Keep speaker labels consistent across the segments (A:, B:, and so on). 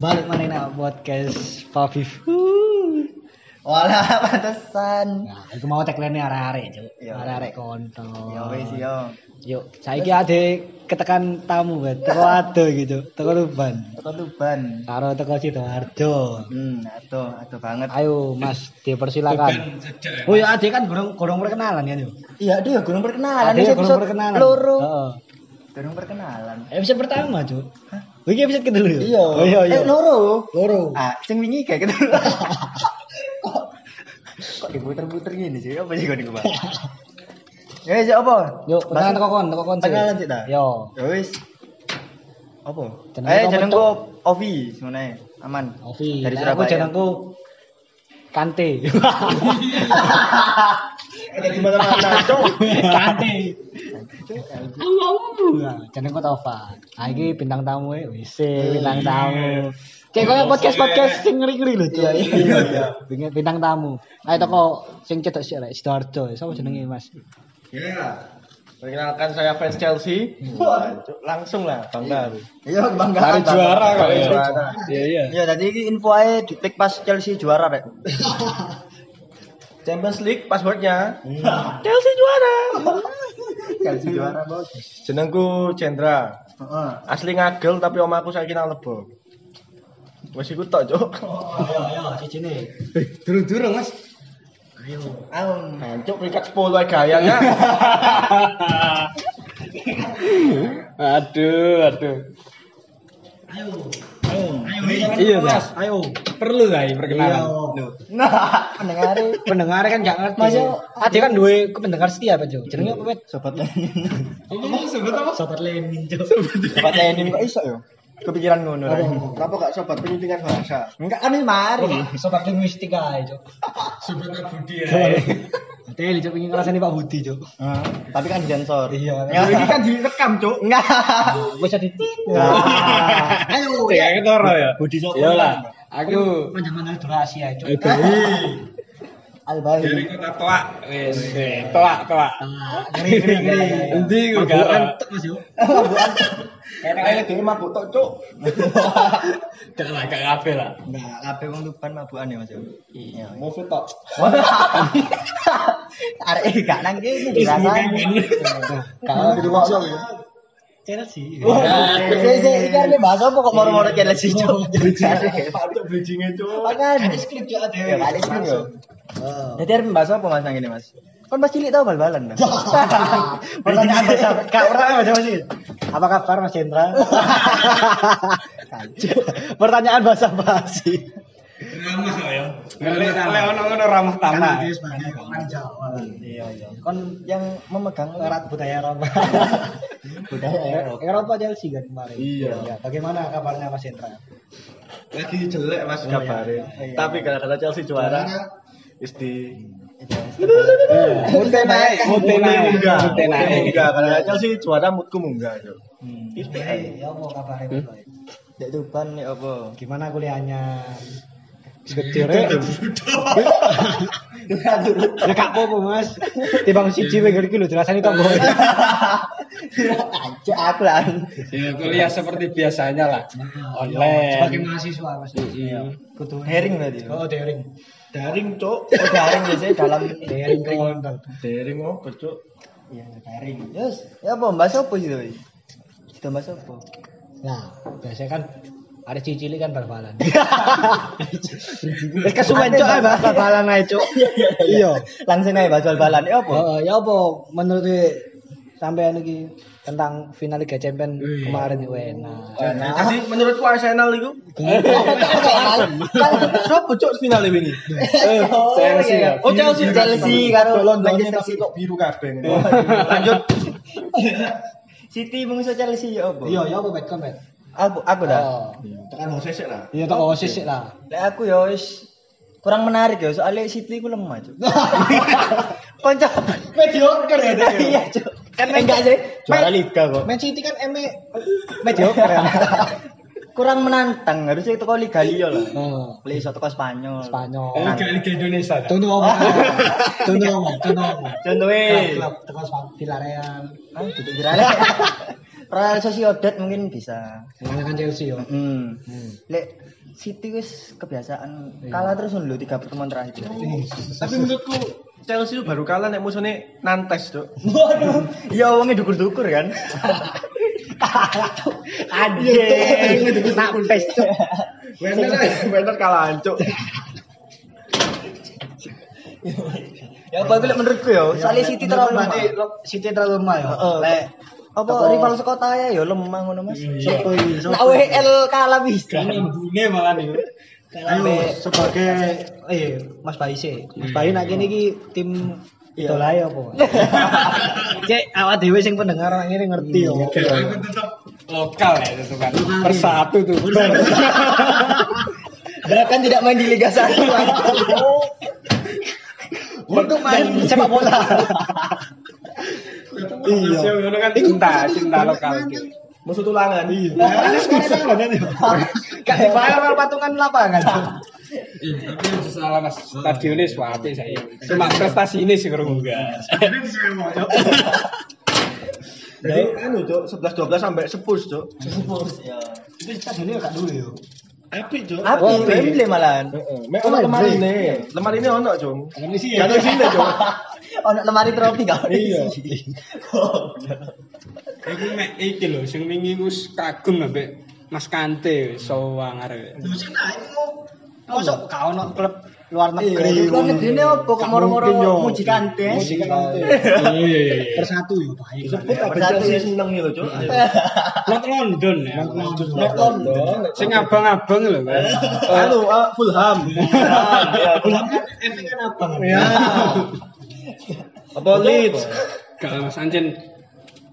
A: Balik mana nak podcast Fafif.
B: Walah pantesan.
A: Nah, itu mau tagline-nya arek-arek, Cuk.
B: Iya.
A: Arek-arek kontol.
B: Ya wis yo.
A: Yuk, saiki ade ketekan tamu bet. Teko ado gitu, teko Luban.
B: Teko Tuban.
A: Karo teko Sidoarjo.
B: Hmm, aduh, aduh banget.
A: Ayo Mas, dipersilakan. Oh ya ade kan gorong gorong perkenalan kan yo.
B: Iya, aduh ya gurung perkenalan.
A: Ade
B: Ini
A: gorong
B: episode
A: perkenalan.
B: Loro.
A: Heeh.
B: Gurung perkenalan.
A: Episode pertama, Cuk. Oh, Iki episode kedua. yo?
B: Iya.
A: Oh, iya, iya.
B: Eh, loro.
A: Loro.
B: Ah, sing wingi kayak gitu. Kok- Kok diputer-puter gini sih? Apa sih kau niku, Bang? Ya wis apa?
A: Yuk, perkenalan teko
B: Mas-
A: kon, teko kon. Cuk.
B: Perkenalan, Cuk, ta?
A: Yo.
B: Ya wis. Apa?
A: Jenengku
B: Eh,
A: apa,
B: jenengku Ovi sebenarnya. Aman.
A: Ovi,
B: Dari
A: dari aku
B: Surabaya.
A: jenengku Kante.
B: Ada di mana-mana, Cuk.
A: Kante. Nah, Jenengku Tova. Ah iki bintang tamu e, wis
B: Iya.
A: bintang tamu. Kayak koyo podcast podcast sing ngeri-ngeri lho. Cuk.
B: Iya, iya, iya.
A: Bintang- Bintang tamu. Ayo toko sing cedok sik rek Sidoarjo. Sapa jenenge Mas?
B: Ya. Perkenalkan saya fans Chelsea. Langsung lah bangga. Iya bangga.
A: Lari juara kok,
B: Lari
A: ya.
B: juara.
A: Iya iya.
B: Ya tadi ini info aja di pick pas Chelsea juara rek. Champions League passwordnya Chelsea juara. Chelsea juara bos.
C: Jenengku Cendra.
B: Heeh.
C: Asli ngagel tapi omaku saiki nang Lebo. Wis iku tok, Cuk.
A: Ayo ayo sijine.
B: Eh, Durung-durung mas. Ayo.
C: Hancuk peringkat 10 ae gaya ya. aduh, aduh.
A: Ayo.
B: Ayo.
A: Iya, Mas. Ayo. Perlu lah
C: Iya,
A: perkenalan.
C: oh.
B: Nah, pendengari
A: Pendengar kan gak ngerti.
B: Mas,
A: Mas,
B: yo.
A: ade kan duwe pendengar setia, Pak Jo. Jenenge apa, Pet?
B: sobat
A: Sobat apa? Sobat Lenin, Jo.
B: sobat Lenin kok iso yo. Kepikiran ngono rek.
C: Kenapa gak sobat penyuntingan bahasa?
B: Enggak kan ini mari.
A: Sobat linguistika ae, Jo.
C: Sobat
A: Iya,
C: Budi ya.
A: Hotel Jo pengen ngrasani Pak Budi, Jo.
B: Heeh. Tapi kan disensor.
A: Iya.
B: Nggak, ini kan direkam, Cuk. Enggak.
A: Wis Ah. adi.
B: Ayo,
C: Ya
A: gitu
C: ketara ya.
B: Budi Sopo.
A: Aku manjang-manjang durasi ae, Jo.
B: Albahi.
C: Iya. kota Toak. Wis, Toak, Toak.
A: Ngeri ngeri ngeri.
C: Endi iku
A: Bukan tek Ah. Mas, Jo.
C: Kayaknya dhewe mabuk tok, Cuk. Tek lah gak kabeh lah.
B: Nah, kabeh wong Tuban mabukan ya, Mas. ya? Iya.
C: Move tok.
B: Arek iki gak nang kene dirasani.
A: Kalau di rumah
B: ya.
A: Chelsea.
B: Iki arek bahasa apa
A: Iya,
B: kok moro-moro kene sih, Cuk.
C: Untuk bridging-e, Cuk.
B: Makan.
A: skrip Jo ade.
B: Ya, balik sini yo.
A: Oh. Eh,
B: Jadi arek bahasa apa Mas nang kene, Mas? Kan Mas cilik tau bal-balan. Mas. Pertanyaan bahasa
A: Kak orang aja masih. Apa kabar Mas Hendra? Pertanyaan bahasa basi.
C: Ramah Kan ya.
A: Ramah tanah.
C: Lek ono ngono ramah tanah.
A: sebagai orang Jawa.
B: Iya, iya. Kon yang memegang
A: Erat budaya Eropa.
B: budaya
A: ya,
B: Eropa.
A: Eropa Chelsea kan kemarin.
C: Iya.
A: Ya, Bagaimana kabarnya Mas Hendra?
C: Lagi jelek Mas
A: Oh, iya,
C: kabare.
A: iya.
C: Tapi gara-gara Chelsea juara wis di
A: Mute naik, mute naik,
C: munggah.
A: mute naik.
C: Munggah gara-gara Chelsea juara moodku munggah. Cuk.
B: Hmm.
C: Titik.
A: Hei, ya apa kabarnya Mas Boy?
B: Dek Tuban nek apa?
A: Gimana kuliahnya?
C: Eh?
A: Sekecilnya
B: Eh,
A: Ya gak apa-apa mas Timbang siji wegel iki lho dirasani tonggo
B: Aja aku lah.
C: Ya kuliah seperti biasanya lah. Online.
A: Ya, Sebagai mahasiswa mas Ya, Kudu
B: Daring berarti.
A: Oh daring
C: Daring, Cuk.
B: Oh, daring biasanya dalam
A: Daring kontol
C: Daring opo, Cuk?
B: Iya, daring. Yes. Ya apa Mbak Sopo sih tadi? Kita Mbak Sopo.
A: Nah biasanya kan ada cicili kan bal-balan Wis kesuwen cok ya, ae bahas eh, bal-balan ae cok Iya
B: Langsung aja bahas bal-balan. Ya apa?
A: Heeh, ya apa menurut sampean iki tentang final Liga Champion kemarin UN.
B: Nah.
C: Jadi menurutku Arsenal itu
A: Gitu.
B: Sopo cok final ini?
C: Chelsea, ya.
B: Oh Chelsea, Chelsea karo Manchester
C: tapi
B: City.
C: kok biru kabeh.
B: Lanjut. City mengusir Chelsea ya apa?
A: Iya, ya apa bet kon bet?
B: Aku aku dah.
A: Oh.
C: Tekan Jose sik lah.
A: Iya tak osis sik lah.
B: Lek aku ya wis kurang menarik ya soalnya City ku lemah cuk. Konco
A: Mediocre ya
B: iya cuk. Kan enggak sih. Juara liga kok.
A: Man City kan ME mediocre ya.
B: Kurang menantang harusnya itu kau liga liyo lah.
A: Oh,
B: Beli iso teko Spanyol.
A: Spanyol.
C: Liga Indonesia.
A: Tunggu ngomong. Tunggu ngomong, tunggu ngomong.
B: Contohnya. Kan
A: Klub-klub terus Villarreal.
B: Ah, duduk jerale. realisasi odet mungkin bisa.
A: Menangkan Chelsea yo.
B: Hmm.
A: Hmm.
B: Lek City wis kebiasaan kalah terus lho tiga pertemuan terakhir.
D: Tapi menurutku Chelsea itu baru kalah nek musuhnya Nantes, Cuk.
B: Waduh, ya wongnya dukur-dukur kan. iya, Anjing, nak pes cuk.
C: Bener
D: Bener kalah, Cuk.
B: Ya apa itu lek menurutku Iya. ya, soalnya City terlalu lemah.
A: Berarti lo- City terlalu lemah yo.
B: Heeh.
A: Lek
B: Apa
A: Apa-
B: rival sekota ya ya lemah ngono Mas. ya? Nah,
A: sopo iki?
B: Nak WL kalah bisa.
C: Nyambungnya malah nih.
A: Ayo sebagai eh Mas Baise. Mas Bayu nak kene iki tim idolae opo? Cek awak dhewe sing pendengar nang kene ngerti yo.
C: Oke, aku tetap lokal ya tetupan.
A: Persatu tuh.
B: Dia kan tidak main di Iya. Liga 1. Untuk main sepak bola.
D: Iya.
C: Cinta, cinta lokal.
D: Musuh tulangan. Iya.
B: Gak dibayar kalau patungan lapangan.
C: Iya, tapi yang salah mas. Stadionnya suapi saya. Cuma prestasi ini sih kurang enggak.
D: Jadi anu, Cuk, 11 12 sampai 10, Cuk.
A: Itu stadionnya gak dulu yo.
D: Apik, Cuk. Oh,
B: Apa Wembley malahan.
D: Mek ono kemarin nih. Oh, Lemari ini ono, Cung.
C: Ini sih
D: Gak ada sini, Cung.
B: Ono lemari trofi gak ono.
D: Iya.
C: Iku mek iki lho sing wingi ku kagum ambek Mas Kante sowang arep.
A: Mosok gak ono klub luar negeri.
B: Iya, ngedine apa kok moro-moro
D: mungkin, yo.
B: muji kantes.
C: Oh iya iya. iya.
A: Persatu yo baik.
D: Sebut apa
B: Bersatu,
D: Chelsea
B: ya.
D: seneng gitu, Cuk. Ayo.
C: Not London ya.
A: Lek London.
C: Sing abang-abang lho. Mas.
D: Anu, ah, Fulham.
A: Iya, Efek kan abang.
D: Ya.
B: Iya.
D: Apa Leeds?
C: Gak Mas Anjen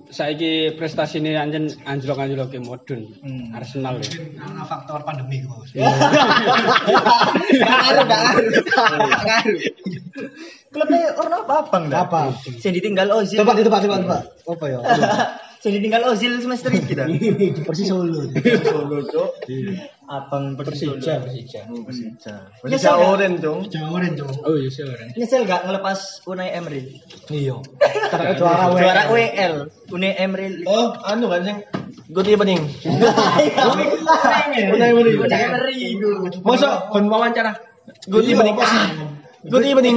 C: saiki prestasine anjen anjlok-anjloke modun. Arsenal ya? lho.
A: Karena faktor pandemi kok.
B: Ngaruh gak ngaruh. Gak Ngaruh. Klubnya orang apa abang dah.
A: Apa?
B: Sing ditinggal Ozil.
A: Coba coba coba coba. Apa ya? yo?
B: Sing ditinggal Ozil semester ini kita.
A: Persis Solo.
D: Solo, Cuk.
B: Abang Persija.
C: Persija, Persija.
B: Oh,
D: Persija. Persija
B: Nyesel gak?
D: Oren, Cung.
A: Jawa Oren tuh.
C: Oh iya sih orang.
B: Nyesel gak ngelepas Unai Emery?
A: Iya. Karena juara WL.
B: Juara WL, Unai Emery.
D: Oh, anu kan sing gue tiba nih.
A: Iya. ya?
B: Unai Emery. Unai Emery.
D: Masa kon wawancara? Gue
A: Iya,
D: tiba nih. Gue tiba nih.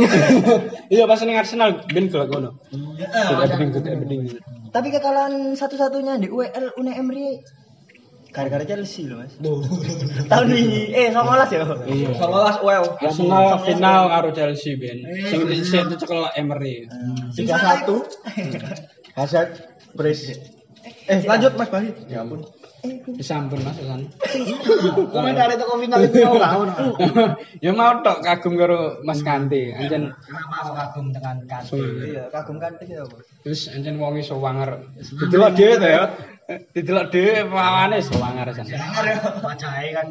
C: Iya pas ning Arsenal ben gelak ngono.
B: Ah.
C: Aberdeen good Aberdeen.
B: Tapi kekalahan satu-satunya di UEL Unai Emery gara-gara Chelsea loh mas. Tahun ini eh 19 ya.
C: Iya.
D: Solas well.
C: Arsenal final karo Chelsea ben. Sing dhisik itu cekel
B: Eh,
C: Emery.
D: Tiga satu. Hazard Brace. Eh lanjut Mas Bahi. Ya ampun.
C: Disampun Mas ya Hasan.
A: Komen dari toko final itu mau lah.
C: ya mau tok kagum karo Mas Kanti. Anjen
A: Kenapa aku kagum dengan kasus?
B: Iya kagum kan ya. Bu.
C: terus anjen wong iso wanger. Didelok dhewe ta ya. Didelok dhewe pawane iso wanger san.
A: Wajahnya kan.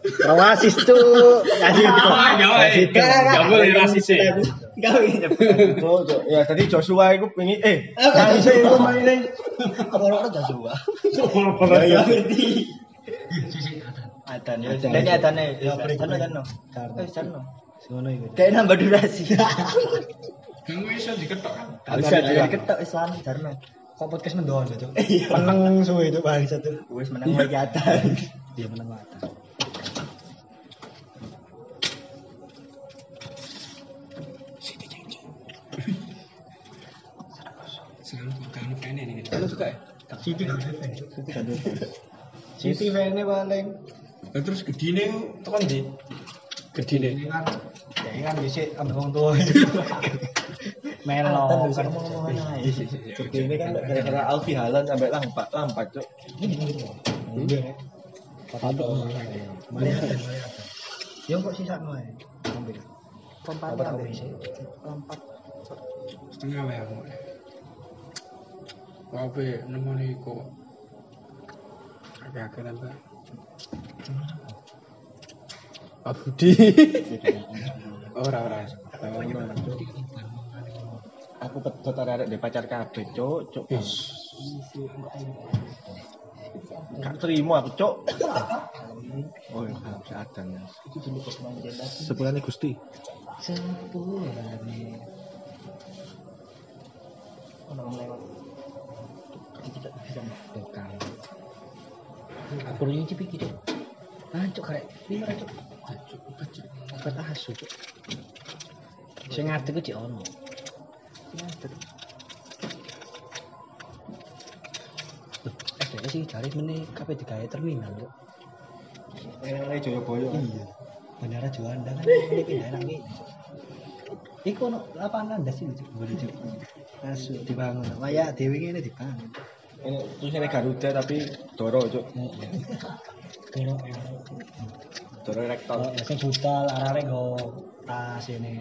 D: Oh,
B: Rawasis tuh. Kasih
C: Ah, eh. Enggak boleh rasis sih.
B: Gak ingin
D: Oh, Cok. ya tadi Joshua iku pengen
A: Iya.
D: eh kan sih iku maine.
B: Orang-orang gak suka.
D: Ya
B: Adan ya. Dan ya Adan ya. Adan Adan.
A: Karena.
B: Eh Adan.
A: Sono itu.
B: Kayak nambah durasi.
C: Kamu iso diketok kan.
B: Bisa jadi ketok Islam Darno.
A: Kok podcast mendoan itu? Menang suwe itu bang satu.
B: Wes menang lagi Adan.
A: Dia Iya, menang mata.
C: Kamu kene ini. Lu suka ya?
A: City kan. City fan-nya paling.
C: Lah Nah, terus gedine tekan ndi? kan Gedine.
A: Ingat. Ya ingat bisik ambung tuh. Melo.
B: Adan bisa ngomong aja.
D: Ini kan gara-gara Alfi Halan sampai lampat lampat Cok.
A: Ừ. Patok. Melihat. Yo kok sisa noe. Ambil.
B: Lompat
A: Lompat kopi sih.
B: Lompat.
C: setengah wae aku. Wabe nemoni iku. Agak-agak nambah. Pak Budi. Ora ora.
D: Aku pedot arek di pacar kabeh Cok. Cok. Gak terima aku Cok. Oh,
B: iya,
D: ya, gak bisa Adan. ya. Sepulane Gusti.
B: Ono lewat. Tukang.
A: Aku lu nyicip iki, Dek. Ancuk karek. Ini ora, Cuk. Obat asu, Cuk. Sing ngadeg ku Cik, ono. Loh, SDK sih dari meni kabeh digawe terminal, Cuk.
B: Ini Joyoboyo.
A: Iya. Bandara Juanda kan ini pindahin lagi. Iku ono lapangan landas ini Cuk. Boleh, Cuk. Asu dibangun. Waya Dewi ini dibangun.
B: Ini tulisannya Garuda tapi Doro, Cuk.
A: Kira
B: Doro Rektor.
A: kalau sing budal arare go tas ini.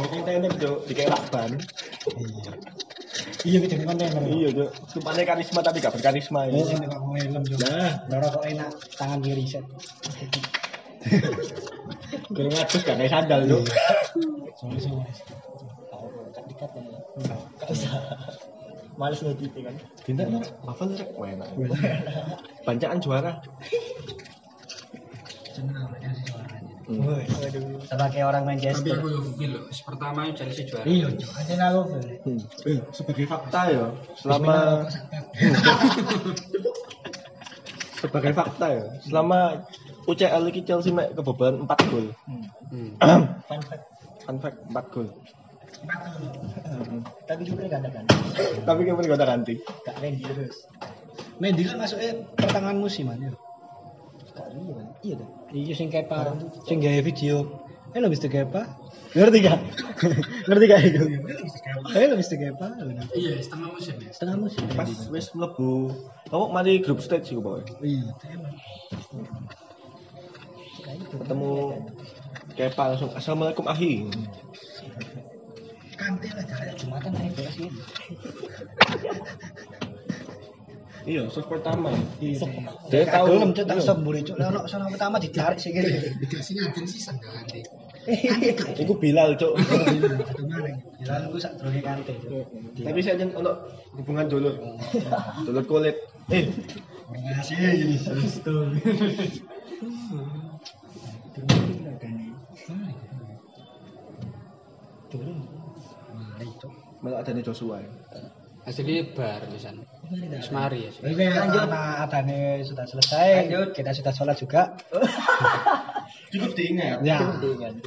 B: Mungkin teknik, Cuk. Dikira lakban.
A: Iya. Iya kejadian kontainer.
B: Iya, Cuk. Sumpahnya karisma tapi gak berkarisma.
A: Ini sing Iya. kok helm juga.
B: Nah.
A: Loro kok enak tangan kiri set.
B: Gurung ngadus gak kayak sandal, Cuk.
A: Sorry sih Mas.
B: Males ngedit kan.
E: Pindah kan?
B: Wafel rek enak. Bancaan juara.
A: Woi, ya, Sebagai orang Manchester.
C: aku rugi loh. Pertama Chelsea juara.
A: Iya, aja aku. Bel.
B: Eh, Sebagai fakta ya, selama sebagai fakta ya, selama UCL iki Chelsea mek kebobolan 4 gol.
C: Hmm.
A: Fun fact.
B: Fun fact 4 gol.
A: Tapi juga gak ada kan.
B: Mm-hmm. Tapi kapan kota ganti?
A: Gak Mendy terus. Mendy kan masuknya pertengahan musiman ya. Iya kan? Iya sing kepa, sing gawe video. Eh lo bisa kepa?
B: Ngerti gak? Ngerti gak itu?
A: Eh lo bisa kepa?
C: Iya, setengah musim ya.
A: Setengah musim.
B: Pas
A: Mendy.
B: wis mlebu. Kamu mari grup stage iku pokoke.
A: Iya.
B: Ketemu Kepa langsung Assalamualaikum Ahi.
A: Kante lah kayak Jumatan ae beres ya.
B: Iya, set pertama.
A: Iya.
B: Dia
A: Dia
B: tahu.
A: tahu lem cetak
B: Iya.
A: semburi cuk. Lah ono sono pertama ditarik sih Eh, iya. kene.
C: Dikasih ngaden sih sandalan deh.
B: Iku Bilal, Cuk.
A: Satu maring. Jalan ku sak droge kante. Cuk.
B: Tapi saya jen untuk hubungan dulur. dulur kulit. Eh,
A: Makasih. Terus tuh. Turun. Mari cuk.
B: malah ada nih Joshua.
C: Hasilnya bar pisan. Semari ya.
A: Oke, lanjut. Nah, adanya sudah selesai. Kita sudah sholat juga.
B: Cukup diingat.
A: Ya.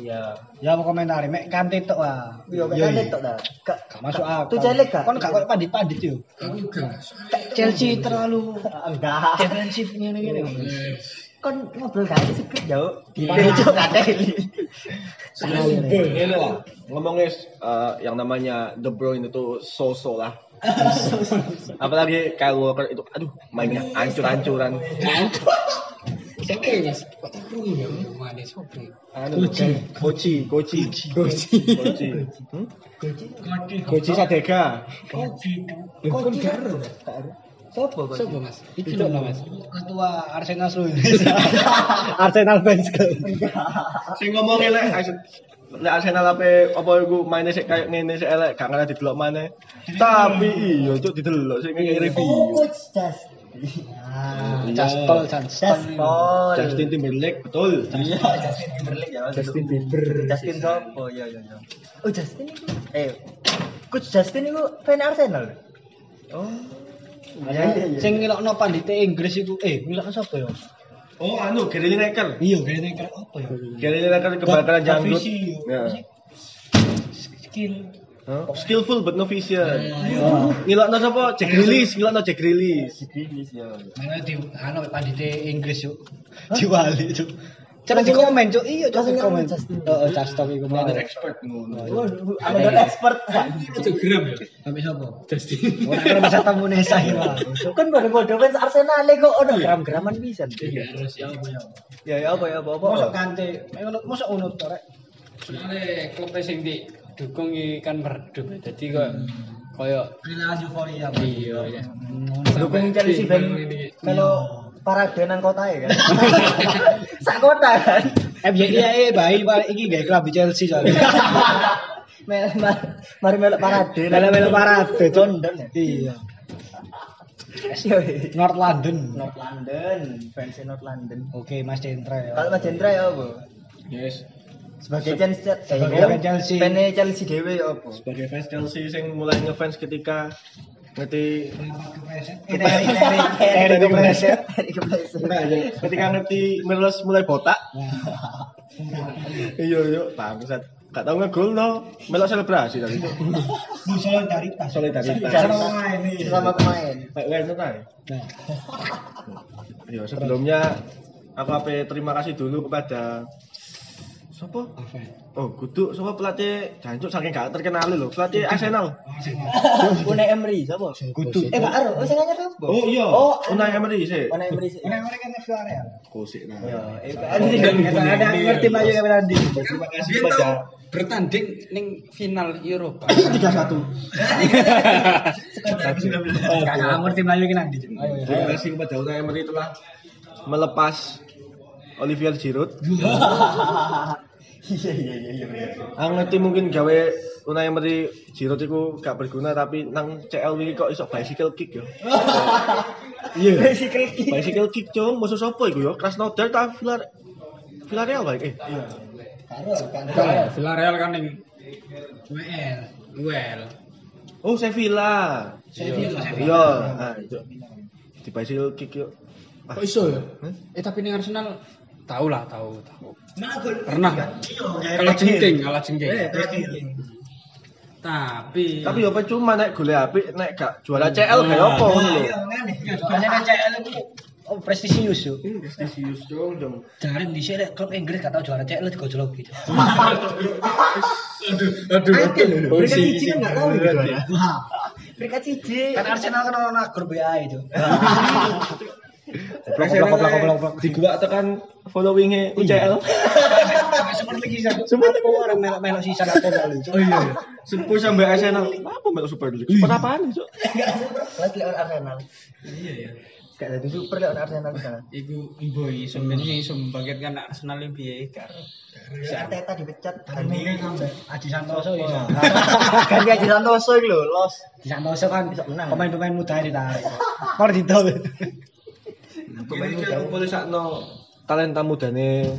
B: Iya.
A: Ya mau komentar, mek kante tok ah.
B: Iya, mek kante tok
A: dah. Gak masuk akal.
B: Tuh jelek gak?
A: Kon gak koyo pandit-pandit yo.
C: Aku juga.
A: Chelsea terlalu
B: Enggak.
A: defensif ngene ngene.
B: Kon ngobrol gak sih sedikit jauh.
A: Iya,
B: Cuk Ini lah. Ngomongnya eh, yang namanya De Bruyne itu so-so lah. Apalagi Kyle Walker itu aduh mainnya hancur-hancuran.
C: Sekiranya kerungu ya. Mana sobri.
B: Anu, Koci, Koci, Koci, Koci. Hmm? Koci Sadega.
A: Kon garo.
C: Sopo mas? Itu
A: Itu
C: loh mas.
A: Ketua Arsenal seluruh Indonesia. Arsenal fans club.
B: Sing ngomongnya lek Ars- lek Arsenal ape apa iku maine sik kayak ngene sik elek gak ngerti didelok maneh. Tapi iya cuk didelok sing ngene
A: Oh,
B: review.
A: Ah,
B: Iya.
A: Caspol, Caspol.
B: Justin Timberlake betul. Iya.
A: Justin Bieber.
F: Justin Sopo, ya ya ya. Oh Justin itu, eh, coach Justin itu fan Arsenal.
A: Ya, sing ngelokno pandite Inggris iku eh ngelokno sapa ya?
B: Oh anu Gary Lineker.
A: Iya, kayaknya kira apa ya?
B: Gary Lineker kebakaran
A: But
B: janggut.
A: novice,
B: Ya.
A: Skill.
B: Huh? Skillful but novice.
A: Hmm.
B: Ngilokno sapa? Jack Grealish, ngilokno Jack Grealish.
A: Mana di anu pandite Inggris yuk. Diwali cuk. Cara di komen cuk. Iya, cuk di komen. Oh, Heeh, Castok iku mau.
B: Expert ngono.
F: Ada expert.
C: Itu geram ya.
A: Sampai sapa? Justin. Ora kira bisa tamu Nesa ya, iki, Pak.
F: Kan baru bodoh fans Arsenal kok ono gram-graman pisan.
C: Iya harus ya.
B: Ya ya apa ya apa apa.
A: Mosok kante, mosok unut to rek.
C: Soalnya klubnya sing di dukung iki kan merdu. Jadi kok koyo
A: Bila euforia. Hmm.
C: iya ya.
F: Dukung Chelsea
C: Sampai-
F: fan.
C: Ini-
F: Kalau parade nang kota ya kan. Sak kota kan.
A: FYI ae bae iya, Pak, iki gawe klub Chelsea soalnya.
F: Mel mar- mari melok parade.
A: Melo-melo parade Cuk.
F: London ya.
A: Iya.
F: Iya, iya.
A: North London.
F: North London, fans North London.
A: Oke, Mas Chandra ya.
F: Kalau Mas Jendra ya apa?
B: Yes.
F: Sebagai fans
A: Sebagai fans Chelsea.
F: Fan Chelsea dewe ya apa?
B: Sebagai fans Chelsea sing mulai ngefans ketika
G: ngerti
A: Eri kepleset.
G: Nah, iya. ketika ngerti Merlos mulai botak. Iya, iya, bangsat. Gak tau ngegol no. Melok selebrasi tadi.
A: Solidaritas.
G: Solidaritas.
A: Sama pemain, iya.
B: Selama pemain.
G: Baik, baik, senang. Iya, sebelumnya aku ape terima kasih dulu kepada Sopo?
A: Nah,
G: Oh, kudu sopo pelatih jancuk saking gak terkenal lho, pelatih Arsenal.
B: Unai Emery, siapa?
A: Kudu.
B: Eh, Pak Aro, oh, saya nanya siapa?
G: Oh iya,
B: Oh,
G: Unai Emery Iya. sih.
B: Unai Emery sih.
A: Orang-orang kan FC Area.
H: Kosik nah.
B: Iya, eh, Pak Aro.
A: Anjing, ada yang ngerti Bayu yang Randi.
G: Terima kasih
C: Dia
G: kepada
C: tahu bertanding ning final Eropa.
G: 31.
A: Kakak ngerti Bayu yang Randi.
G: Terima
A: Iya.
G: kasih kepada Unai Emery telah melepas Olivier Giroud.
B: Iya, iya, iya, iya.
G: Aku ngerti mungkin gawe Unai Emery Giroud itu gak berguna tapi nang CL ini kok iso bicycle kick yo. Iya.
B: Bicycle kick.
G: Bicycle kick cung musuh sopo iku yo? Krasnodar ta Villar Villarreal baik eh.
A: Iya.
C: Villarreal kan ning WL.
G: Oh Sevilla. Iya. Nah, itu. Di bicycle kick yo. Ah,
C: Kok iso ya? Eh tapi ning Arsenal tahu lah, tahu, tahu.
A: Nah, Iya,
C: Pernah
A: ya,
C: kalah jengking, kalah jengking.
B: Iya.
C: Tapi
G: Tapi yo percuma nek golek apik nek gak juara CL kayak apa ngono
A: Iya,
G: lho.
B: Iya.
A: Banyak kan CL itu oh, prestisius yo.
G: Prestisius cung dong.
A: Jangan di sini klub Inggris gak tau juara CL digojlok gitu.
C: aduh
B: Angel lho, mereka
C: Pusing,
B: siji kan nggak tahu gitu ya. Mereka siji.
A: Kan Arsenal kan orang grup WA itu.
G: Nah. Goblok goblok goblok Iya. goblok. Digolak tekan e followinge UCL.
A: Semua itu orang melok-melok sisa apa lalu.
G: Oh iya. iya. Sepuh sampai Arsenal. Apa melok Super League? Super apaan itu?
B: Lagi lawan Arsenal.
G: Iya,
B: Gak ada super lawan Arsenal sana.
C: Iku boy, sebenarnya iso membangkitkan Arsenal
G: Iya,
C: lebih ya,
B: Si Arteta dipecat. Ganti
A: Aji Santoso
G: Oh.
A: ya.
B: ganti Haji Santoso itu lho, los.
A: Aji Santoso kan pemain-pemain muda yang ditarik. Kor didol.
G: Ini kan aku boleh sakno talenta mudane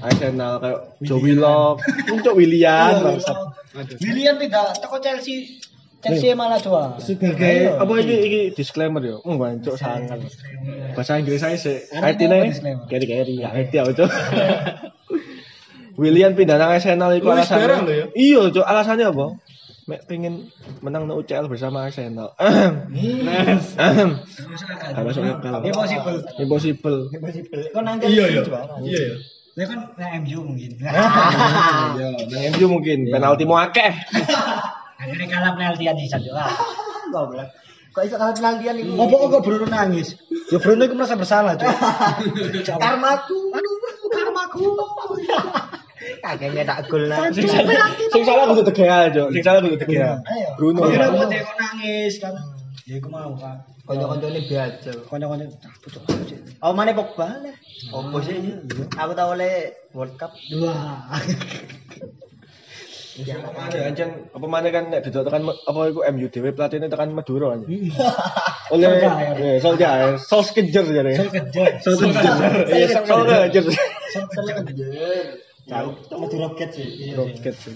G: Arsenal kayak Joe Willock, untuk William bangsat.
A: William tidak teko Chelsea. Chelsea malah dua.
G: Sebagai apa ini ini disclaimer yo. Mung bancuk sangat. Kan Bahasa Inggris saya sih. Artine
A: disclaimer.
G: keri keri ya ngerti aku Cuk. William pindah nang Arsenal iku
H: Wis barang lho ya.
G: alasannya. Iya, Cuk, alasannya apa? Mek pengen menang no UCL bersama Arsenal. Ahem. Gak masuk akal.
A: Impossible.
G: Impossible.
A: Kon nanti
H: Iya ya. Iya ya.
A: Ya kan nah, MU mungkin.
G: Iya, nang MU mungkin penalti mau akeh.
A: Akhirnya kalah penalti kan, di satu.
B: Goblok. Kok iso kalah penaltian itu?
A: Apa Oh, kok Bruno nangis? Ya Bruno itu merasa bersalah, cuy.
B: Karmaku. Aduh, karmaku. Kagaknya tak gol lah.
G: Sing salah- sing salah kudu De Gea, Cuk. Sing salah kudu De Gea.
A: Ayo.
G: Bruno.
A: Akhirnya kok dia kok nangis kan. Ya iku mau kan.
B: Kanca-kancane biasa.
A: Konyol-konyol. Ah, putus.
B: Oh, mana Pogba lah. Opo sih? Aku tau oleh World Cup.
A: Dua. Ya,
G: Mana anjen apa mana kan nek didol tekan Me- apa iku MU dhewe pelatihne tekan Madura
A: Hmm.
G: anjen. Oleh
A: Solskjaer.
G: ya Solskjaer, Solskjaer jare.
A: Saya kerja.
G: Solskjaer. Iya, Solskjaer.
B: Jauh.
A: Madura Rocket sih.
G: Roket sih.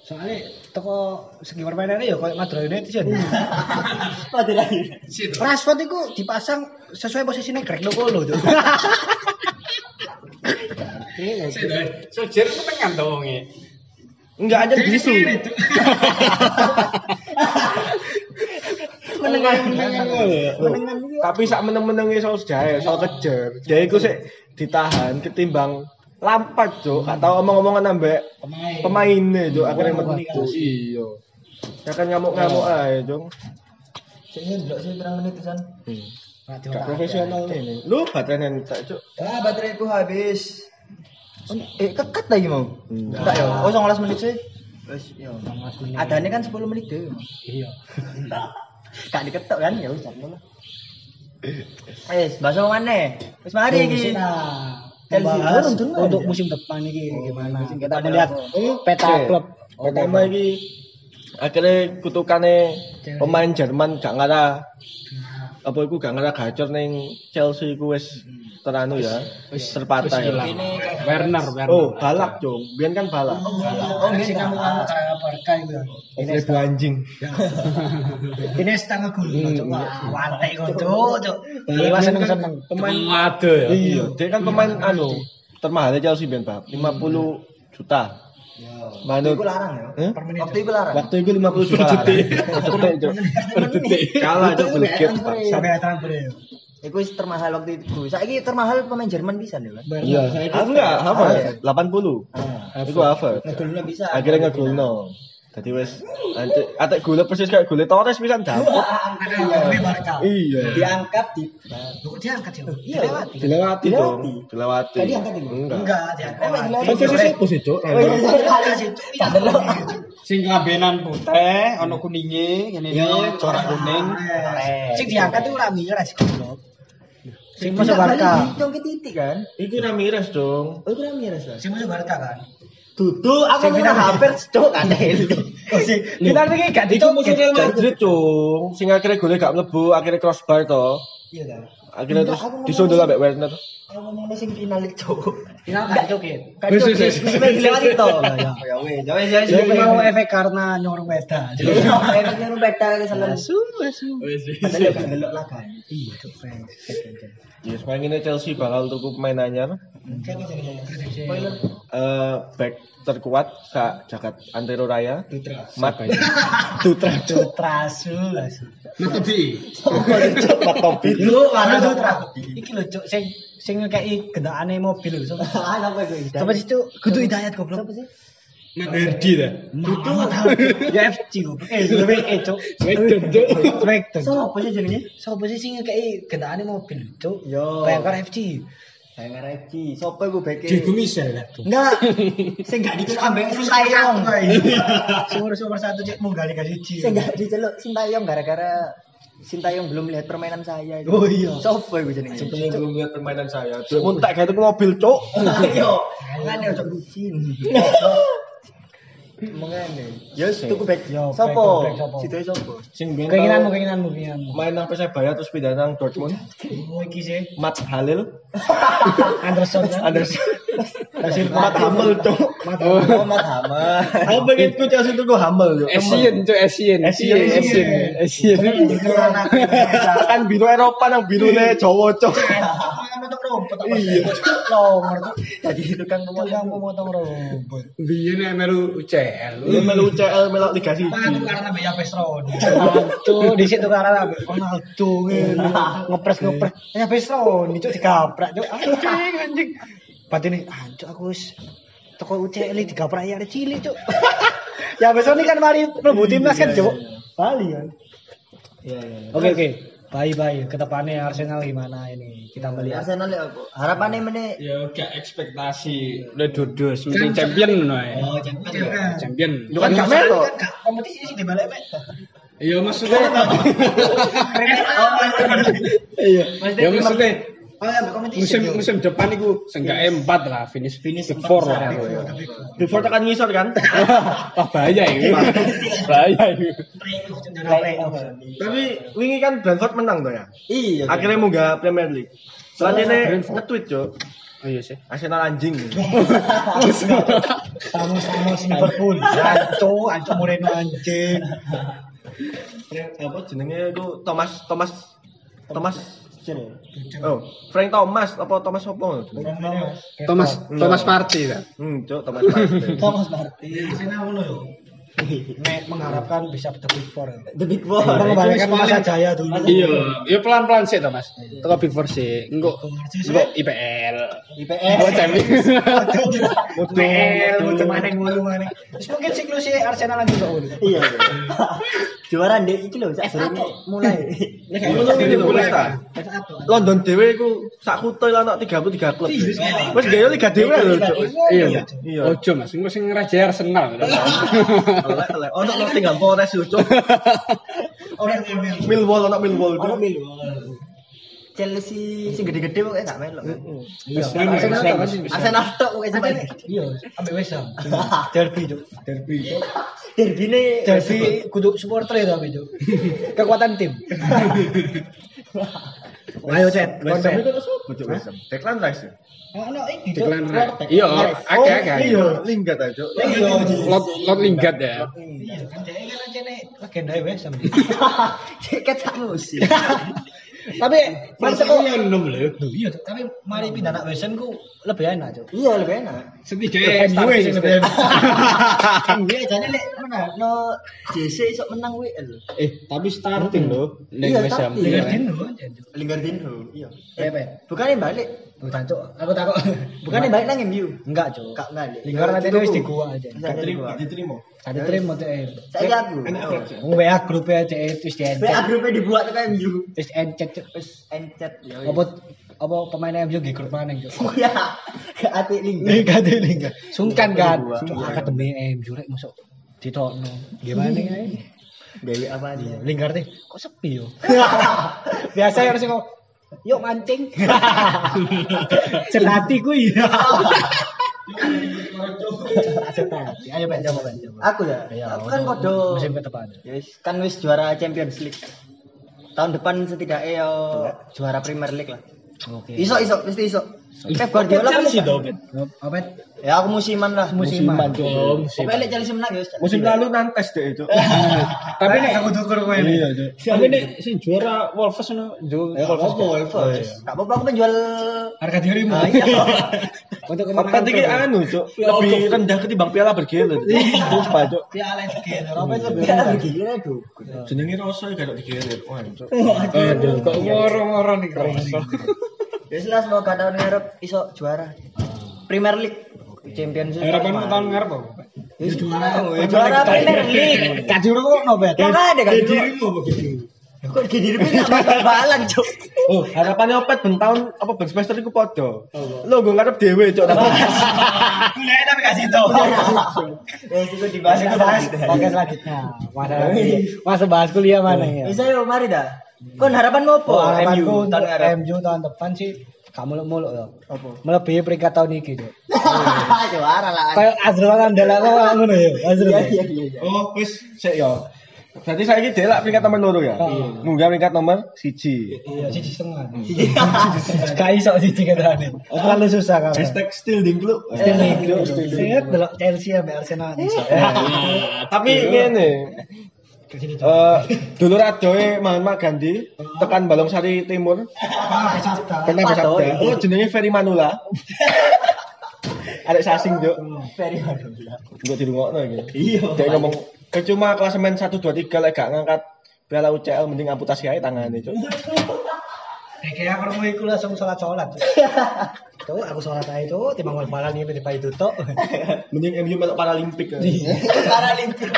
A: Soalnya toko segi permainannya ya kayak Madura United sih.
B: Mati lagi.
A: Rashford itu dipasang sesuai posisinya Greg Lokolo tuh.
C: Sojer ku tengan to wonge.
G: Enggak aja bisu.
B: Menengan menengan. Menengan iki.
A: gitu.
G: Tapi sak meneng-menenge Solskjaer, Solskjaer. Dia iku sik ditahan ketimbang Lampard, Cuk. Gak tau omong-omongan ambek
A: Pemain.
G: pemainnya Cuk, akhirnya
A: Ngomong
G: metu. Iya. Ya kan ngamuk-ngamuk ae, Cuk.
B: Sik ndelok sih pirang menit pisan.
G: Iya. Gak profesional nih. Lu baterai entek, Cuk.
B: Ah, bateraiku habis. Eh, kekat lagi mau.
G: Enggak.
B: Enggak ya. Oh, 19 menit sih. Wes, iya. yo. Adane kan 10 menit deh.
A: Iya.
B: Gak diketok kan ya wis ngono. Wis, bahasa mana? Wis mari iki.
A: Kita
B: Chelsea.
A: membahas
B: Belum dengar
A: untuk
B: ya?
A: musim depan ini gimana?
B: musim
A: Iya. Kita
B: depan
A: melihat
B: ya.
A: peta klub.
G: Pertama iki akhirnya kutukane pemain Jerman gak ngara apa iku gak ngerasa gacor ning Chelsea iku wis teranu ya, wis
C: Terus
G: terpatai.
C: hilang. Werner, Werner.
G: Oh, balak dong. Biyen kan balak.
A: Oh, ini kamu anu cara Barca itu. ya.
G: Ibu anjing.
A: Ini setengah gol. Wantai kok, Cuk, Cuk.
G: Balak
A: Iwasan
G: kan
A: Iya. seneng.
G: Pemain
C: Waduh ya.
G: Iya, dia kan pemain anu termahal Chelsea ben Pak. 50 juta. Manut.
B: Iku larang ya.
G: Eh?
A: Per menit,
B: Waktu itu larang.
G: Waktu itu 50 juta. lah. Detik, Cuk. Detik. Kalah Cuk belegit, Pak.
A: Sampai transfer ya.
B: Iku wis termahal waktu itu. Saiki termahal pemain Jerman bisa lho kan.
G: Iya, aku enggak hafal ya. 80. Iku hafal.
B: Ngedulno Ah, bisa.
G: Akhirnya ngegulno. Jadi wes antek atek gule persis kayak gule Torres pisan
A: Ada
G: dapet.
A: yang di Barca.
G: Iya.
B: Diangkat di
A: Loh, Dia angkat ya.
B: Iya, lewat.
G: Dilewati dong. Dilewati.
B: Tadi angkat itu?
G: Enggak.
A: Enggak, dia angkat.
H: Kan sih siapa sih, Cuk?
A: Enggak sih, Cuk. Iya,
C: Sing Iya. lambenan putih, ana Eh, kuninge, ngene iki, corak kuning.
A: Sing diangkat itu ora mira sih goblok. Sing masuk Barca.
B: Dihitung ke titik kan.
G: Iku Ramirez dong.
B: Oh, itu namanya Res.
A: Sing masuk Barca kan.
B: Dudu aku minta hampir cok kan
A: Oh, sing
G: Kita iki gak dicok musuh Real Madrid, Cung. Eh, Sing akhirnya gole gak mlebu, akhirnya crossbar to.
A: iya kan.
G: Akhirnya
B: Enggak,
G: terus
B: aku ngomong-
G: disundul ambek Werner.
B: Aku ngomongnya sing final cok.
A: Final kan joget.
B: Kan cok lewat itu. Ya wes, ya wes, ya wes.
A: Dia mau efek karena nyor weda.
B: Kayaknya rumpet kali sama.
C: Wis.
B: Padahal ya kan delok lah kan.
A: Iya, Cuk. Fans.
G: Yes, main ini Chelsea bakal tuku pemain anyar.
A: Spoiler.
G: Eh, back terkuat sa jagat Antero Raya. Mat
A: Dutra Dutra su asu.
G: Mat Topi.
A: Lu ana Dutra. Iki lho cuk sing sing ngekeki gendakane mobil lho. Sopo
B: Ah, apa itu?
A: Sopo sih cuk? Kudu hidayat goblok. Sopo sih? Ah,
C: Magerdi ta.
A: Dudu. Ya FC goblok. Eh, lebih eh cuk.
C: Wedon, Cuk.
A: Swekton. Sopo sih jenenge? Sopo sih sing ngekeki gendakane mobil cuk?
B: Yo.
A: Bayangkar FC.
B: Saya ngerti. Sopo iku beke?
C: Diego Michel lah.
B: Enggak. Sing gak diceluk ambek sing tayong.
A: Sumur sumur satu cek munggah liga siji.
B: Sing gak diceluk sing tayong gara-gara Sintayong belum lihat permainan saya. itu.
A: Oh, iya.
B: Sopo iku jenenge?
G: Belum lihat permainan saya. Duit muntak kayak tuku mobil, Cuk.
B: Ayo, ngene ojo bucin. Mengene.
G: Yes,
B: Tuku back
A: Yo,
B: sopo?
A: back, back, sopo?
B: Sidoe sopo?
G: Ya, Sing biyen
A: Keinginanmu,
G: tau
A: keinginanmu, keinginanmu.
G: main nang Persebaya terus pindah nang Dortmund.
A: Oh, iki sih.
G: Mat Halil,
A: Anderson kan.
G: Anderson. Kasih Mat Hamel, Cuk.
B: Oh, Mat Hammer.
G: Aku pengen ku Chelsea tuku Hamel, Cuk.
C: Essien, Cuk, Essien.
G: Essien,
C: Iya, Essien. Essien.
G: kan biru Eropa nang birune Jawa, Cuk.
A: Potong rumput apa? Iya. Nomor tuh.
B: Jadi tukang
A: Tukang
B: pemotong.
A: memotong rumput.
C: Biyen nek melu UCL.
G: Lu melu UCL melok Liga
A: Mana
G: Siji.
A: karena Beja Pestron? Itu di situ karena Abe Ronaldo ngepres ngepres. Beja Pestron itu digaprak cuk. Anjing anjing. Batin nih, anjing aku wis toko UCL ini digaprak ya ada Cili cuk. Ya besok ini kan mari mlebu timnas kan cuk. Bali kan. Oke oke. Bye bye. Kedepannya Arsenal gimana ini? Kita melihat.
B: Arsenal ya apa? Harapane meneh
C: Ya gak ekspektasi Kan Eh. udah dudus mending champion ngono ae.
A: Oh, jangan.
C: Champion.
G: Lu kan gak melu.
A: Kompetisi sih dibalik mek.
C: Ya maksudnya
G: Iya.
C: ya maksudnya
A: Oh, ya, kompetisi.
C: musim musim depan itu seenggaknya empat lah finish finish four lah ya.
G: Before tekan ngisor kan?
C: wah Oh, bahaya ini bahaya ini
G: Tapi wingi kan Brentford menang toh ya.
B: iya.
G: Akhirnya munggah Premier League. Selanjutnya nge-tweet, Cuk.
C: ayo Oh, sih
G: Arsenal anjing.
A: Kamu sama Liverpool. Anco, Anco Moreno anjing.
G: Apa jenenge iku Thomas Thomas Thomas Oh, Frank Thomas apa Thomas apa ngono jenenge?
C: Thomas Thomas Partey lah
G: Hmm, Cuk, Thomas. Partey.
A: Thomas Partey. Arsenal ngono yo. Nek mengharapkan bisa ke Big Four.
B: The Big Boy.
A: Kita mengembalikan masa jaya dulu.
C: iya iya pelan pelan sih Thomas toko big four sih enggak enggak IPL
B: IPS.
C: buat champion
A: Mel, udah maning mulu maning. Terus mungkin siklusnya Arsenal lagi kok dulu.
B: Iya. iya. Juara ndek iki lho, sak durung mulai.
G: Nek gak
A: gitu.
G: ngono iki lho, wis ta. London dhewe iku sak kutho lan 33 klub. Wis gawe liga dhewe lho, Cuk.
C: iya
G: Iya.
C: iya ojo mas enggak sih ngerajai Arsenal
G: Elek, elek. Ono Nottingham Forest lho, Cuk.
A: Orang Mel.
G: Millwall ono Millwall, Cuk.
B: Chelsea sing gede-gede kok gak melok.
C: Iya, Arsenal Thomas.
B: Arsenal tok kok sampe.
A: Iya, ambil West Ham. Derby itu.
B: Derbine
A: Derby kudu supporter itu tapi itu. Kekuatan tim. Ayo cet,
G: West Ham
A: konten.
G: itu sopo cuk West Ham? Declan Rice. ya?
A: Ono iki Cuk.
C: Declan Rice.
A: Protek.
C: Iya,
A: Oh,
C: agak-agak.
A: Iya.
G: Linggat aja cuk.
A: Iya. Ji.
C: Lot lot linggat ya.
A: Iya, kan dia kan ancene legenda ya, Wes Ham.
B: Ah. Ceket sak musim.
A: Tapi mari teko
C: enam lho.
A: iya, Cuk. tapi mari pindah nak Wes Ham ku lebih enak, Cuk.
B: Iya lebih enak.
C: Setidaknya
A: MU sih lebih
C: start-
A: enak.
B: Iya jane lek menang no JC iso menang WL.
C: Eh, tapi starting lho. Ning
B: Iya,
C: West Ham.
B: starting.
A: Iya,
C: Iya.
A: Din, lho, Cuk.
B: Lingardinho. Iya.
A: Iya, Pe.
B: Bukannya balik,
A: Bukan, Cuk. Aku takut.
B: bukannya balik nang MU.
A: Enggak, Cuk.
B: Kak balik.
A: Lingkar nanti wis di gua aja.
B: Nggak diterima.
G: Diterima.
A: Tadi terima teh.
B: Saya aku.
A: Wong WA grup e aja eh, itu di
B: Saya
A: encet.
B: grupnya dibuat ke MU.
A: Wis encet Cuk.
B: Terus encet ya.
A: Apa apa pemain MU di grup mana, Cuk?
B: Ya. Ke ati
A: Ini
B: lingga.
A: kate lingga. Sungkan kan.
B: Dua.
A: Cuk akademi MU rek masuk ditokno. Gimana ae?
B: Dewi apa aja?
A: Linggar teh Iya, kok sepi yo. Biasa harus kok yuk mancing. Celati iya. kuwi. Celati. Ayo Ben coba Ben coba.
B: Aku ya. Aku kan kodo.
A: musim ke depan.
B: Ya wis, kan wis juara Champions League. Tahun depan setidaknya yo juara Premier League lah.
A: Oke.
B: Iso iso mesti iso. Pep Guardiola kan iso.
C: Chelsea dong.
A: Apa?
B: Ya aku musiman lah.
A: Musiman.
C: Dong.
B: Pokoknya lek Chelsea menang ya wis.
G: Musim lalu nantes deh itu.
C: Tapi nek
A: aku tuker kowe.
G: Iya cuk.
C: tapi nek sing juara Wolves ngono jo.
B: Ya apa apa Wolves. Gak apa-apa aku penjual
A: Harga dirimu.
B: Ah, iya.
A: Untuk
G: Opat iki anu cuk, lebih rendah ketimbang piala bergilir.
A: Iya.
G: Sumpah cuk.
A: Ya Alex Gero. Apa itu?
B: Gak
A: Iya.
B: gila dong.
G: Jenenge Roso ya gak digilir. Wah cuk.
C: Aduh, kok moro-moro nih keren.
B: Ya jelas mau gak tahun ngarep iso juara. Premier League. Champions League.
C: Harapanmu tahun ngarep apa?
A: Iya.
B: Ya, juara. Ya, Juara Premier League.
A: Kajur kok no Bet.
B: Kok ada kan? Kok di dirimu gak bakal balan, Cuk.
G: Oh, harapannya opet ben tahun apa ben semester iku padha. Lo gue ngarep dhewe cuk.
A: Kuliah tapi kasih tau.
B: Ya itu dibahas.
A: Masih bahas
B: Iya.
A: podcast selanjutnya. Masa masa bahas kuliah mana ya?
B: Bisa yuk mari dah. Kon harapanmu apa?
A: Oh, harapanku
B: tahun
A: untuk
B: ngarep.
A: MU tahun depan sih kamu muluk muluk loh.
B: Apa?
A: Melebihi peringkat tahun ini gitu.
B: Juara lah.
A: Kayak Azrul Andala kok kayak ngono ya. Azrul.
B: Iya iya iya. iya.
G: Oh, wis sik yo. Berarti saya ini delak peringkat nomor loro ya.
A: Iya.
G: Munggah peringkat nomor siji.
A: Iya, siji setengah. Kayak iso siji ketane. Terlalu susah kan.
G: Hashtag still di club.
A: Still nih. Set delok Chelsea ambek Arsenal iso.
G: Iya, Tapi ngene, eh dulu radoe Mahatma Gandhi
A: Iya.
G: tekan Balongsari Timur
A: Ah, sabda.
G: pernah
B: Apa
G: bersabda
B: tuh?
G: oh jenenge Ferry Manula arek sasing juk
B: Very hard.
G: gue dirungokno iki iya dia ngomong "Eh, percuma klasemen 1 2 3 lek gak ngangkat piala UCL mending amputasi aja tangane juk
A: Eh, Kayak aku mau ikut langsung sholat sholat. Tuh aku sholat aja tuh, timbang bal-balan ini tiba itu tuh.
G: mending MU melok paralimpik ya.
B: Paralimpik.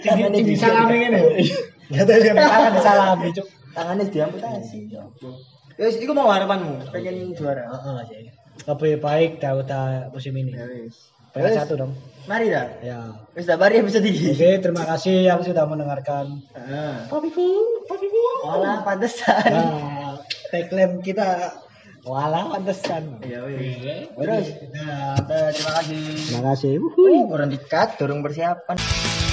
A: Ini disalami ini. Ya tuh yang tangan disalami cuk.
B: Tangannya diamputasi. Ya wis, iku mau harapanmu, pengen juara.
A: Heeh aja. Lebih ya, baik Dauta musim ini.
B: Ya wis.
A: Peringkat satu dong.
B: Mari dah.
A: Ya.
B: Wis dah mari episode iki.
A: Oke, terima kasih yang sudah mendengarkan.
B: Iya. Papiku, papiku. Olah pantesan.
A: Nah, tagline kita wala pantesan.
B: Ya wis.
A: Terus, nah,
B: Dah, eh, terima kasih.
A: terima kasih.
B: Oh, orang dikat, dorong persiapan.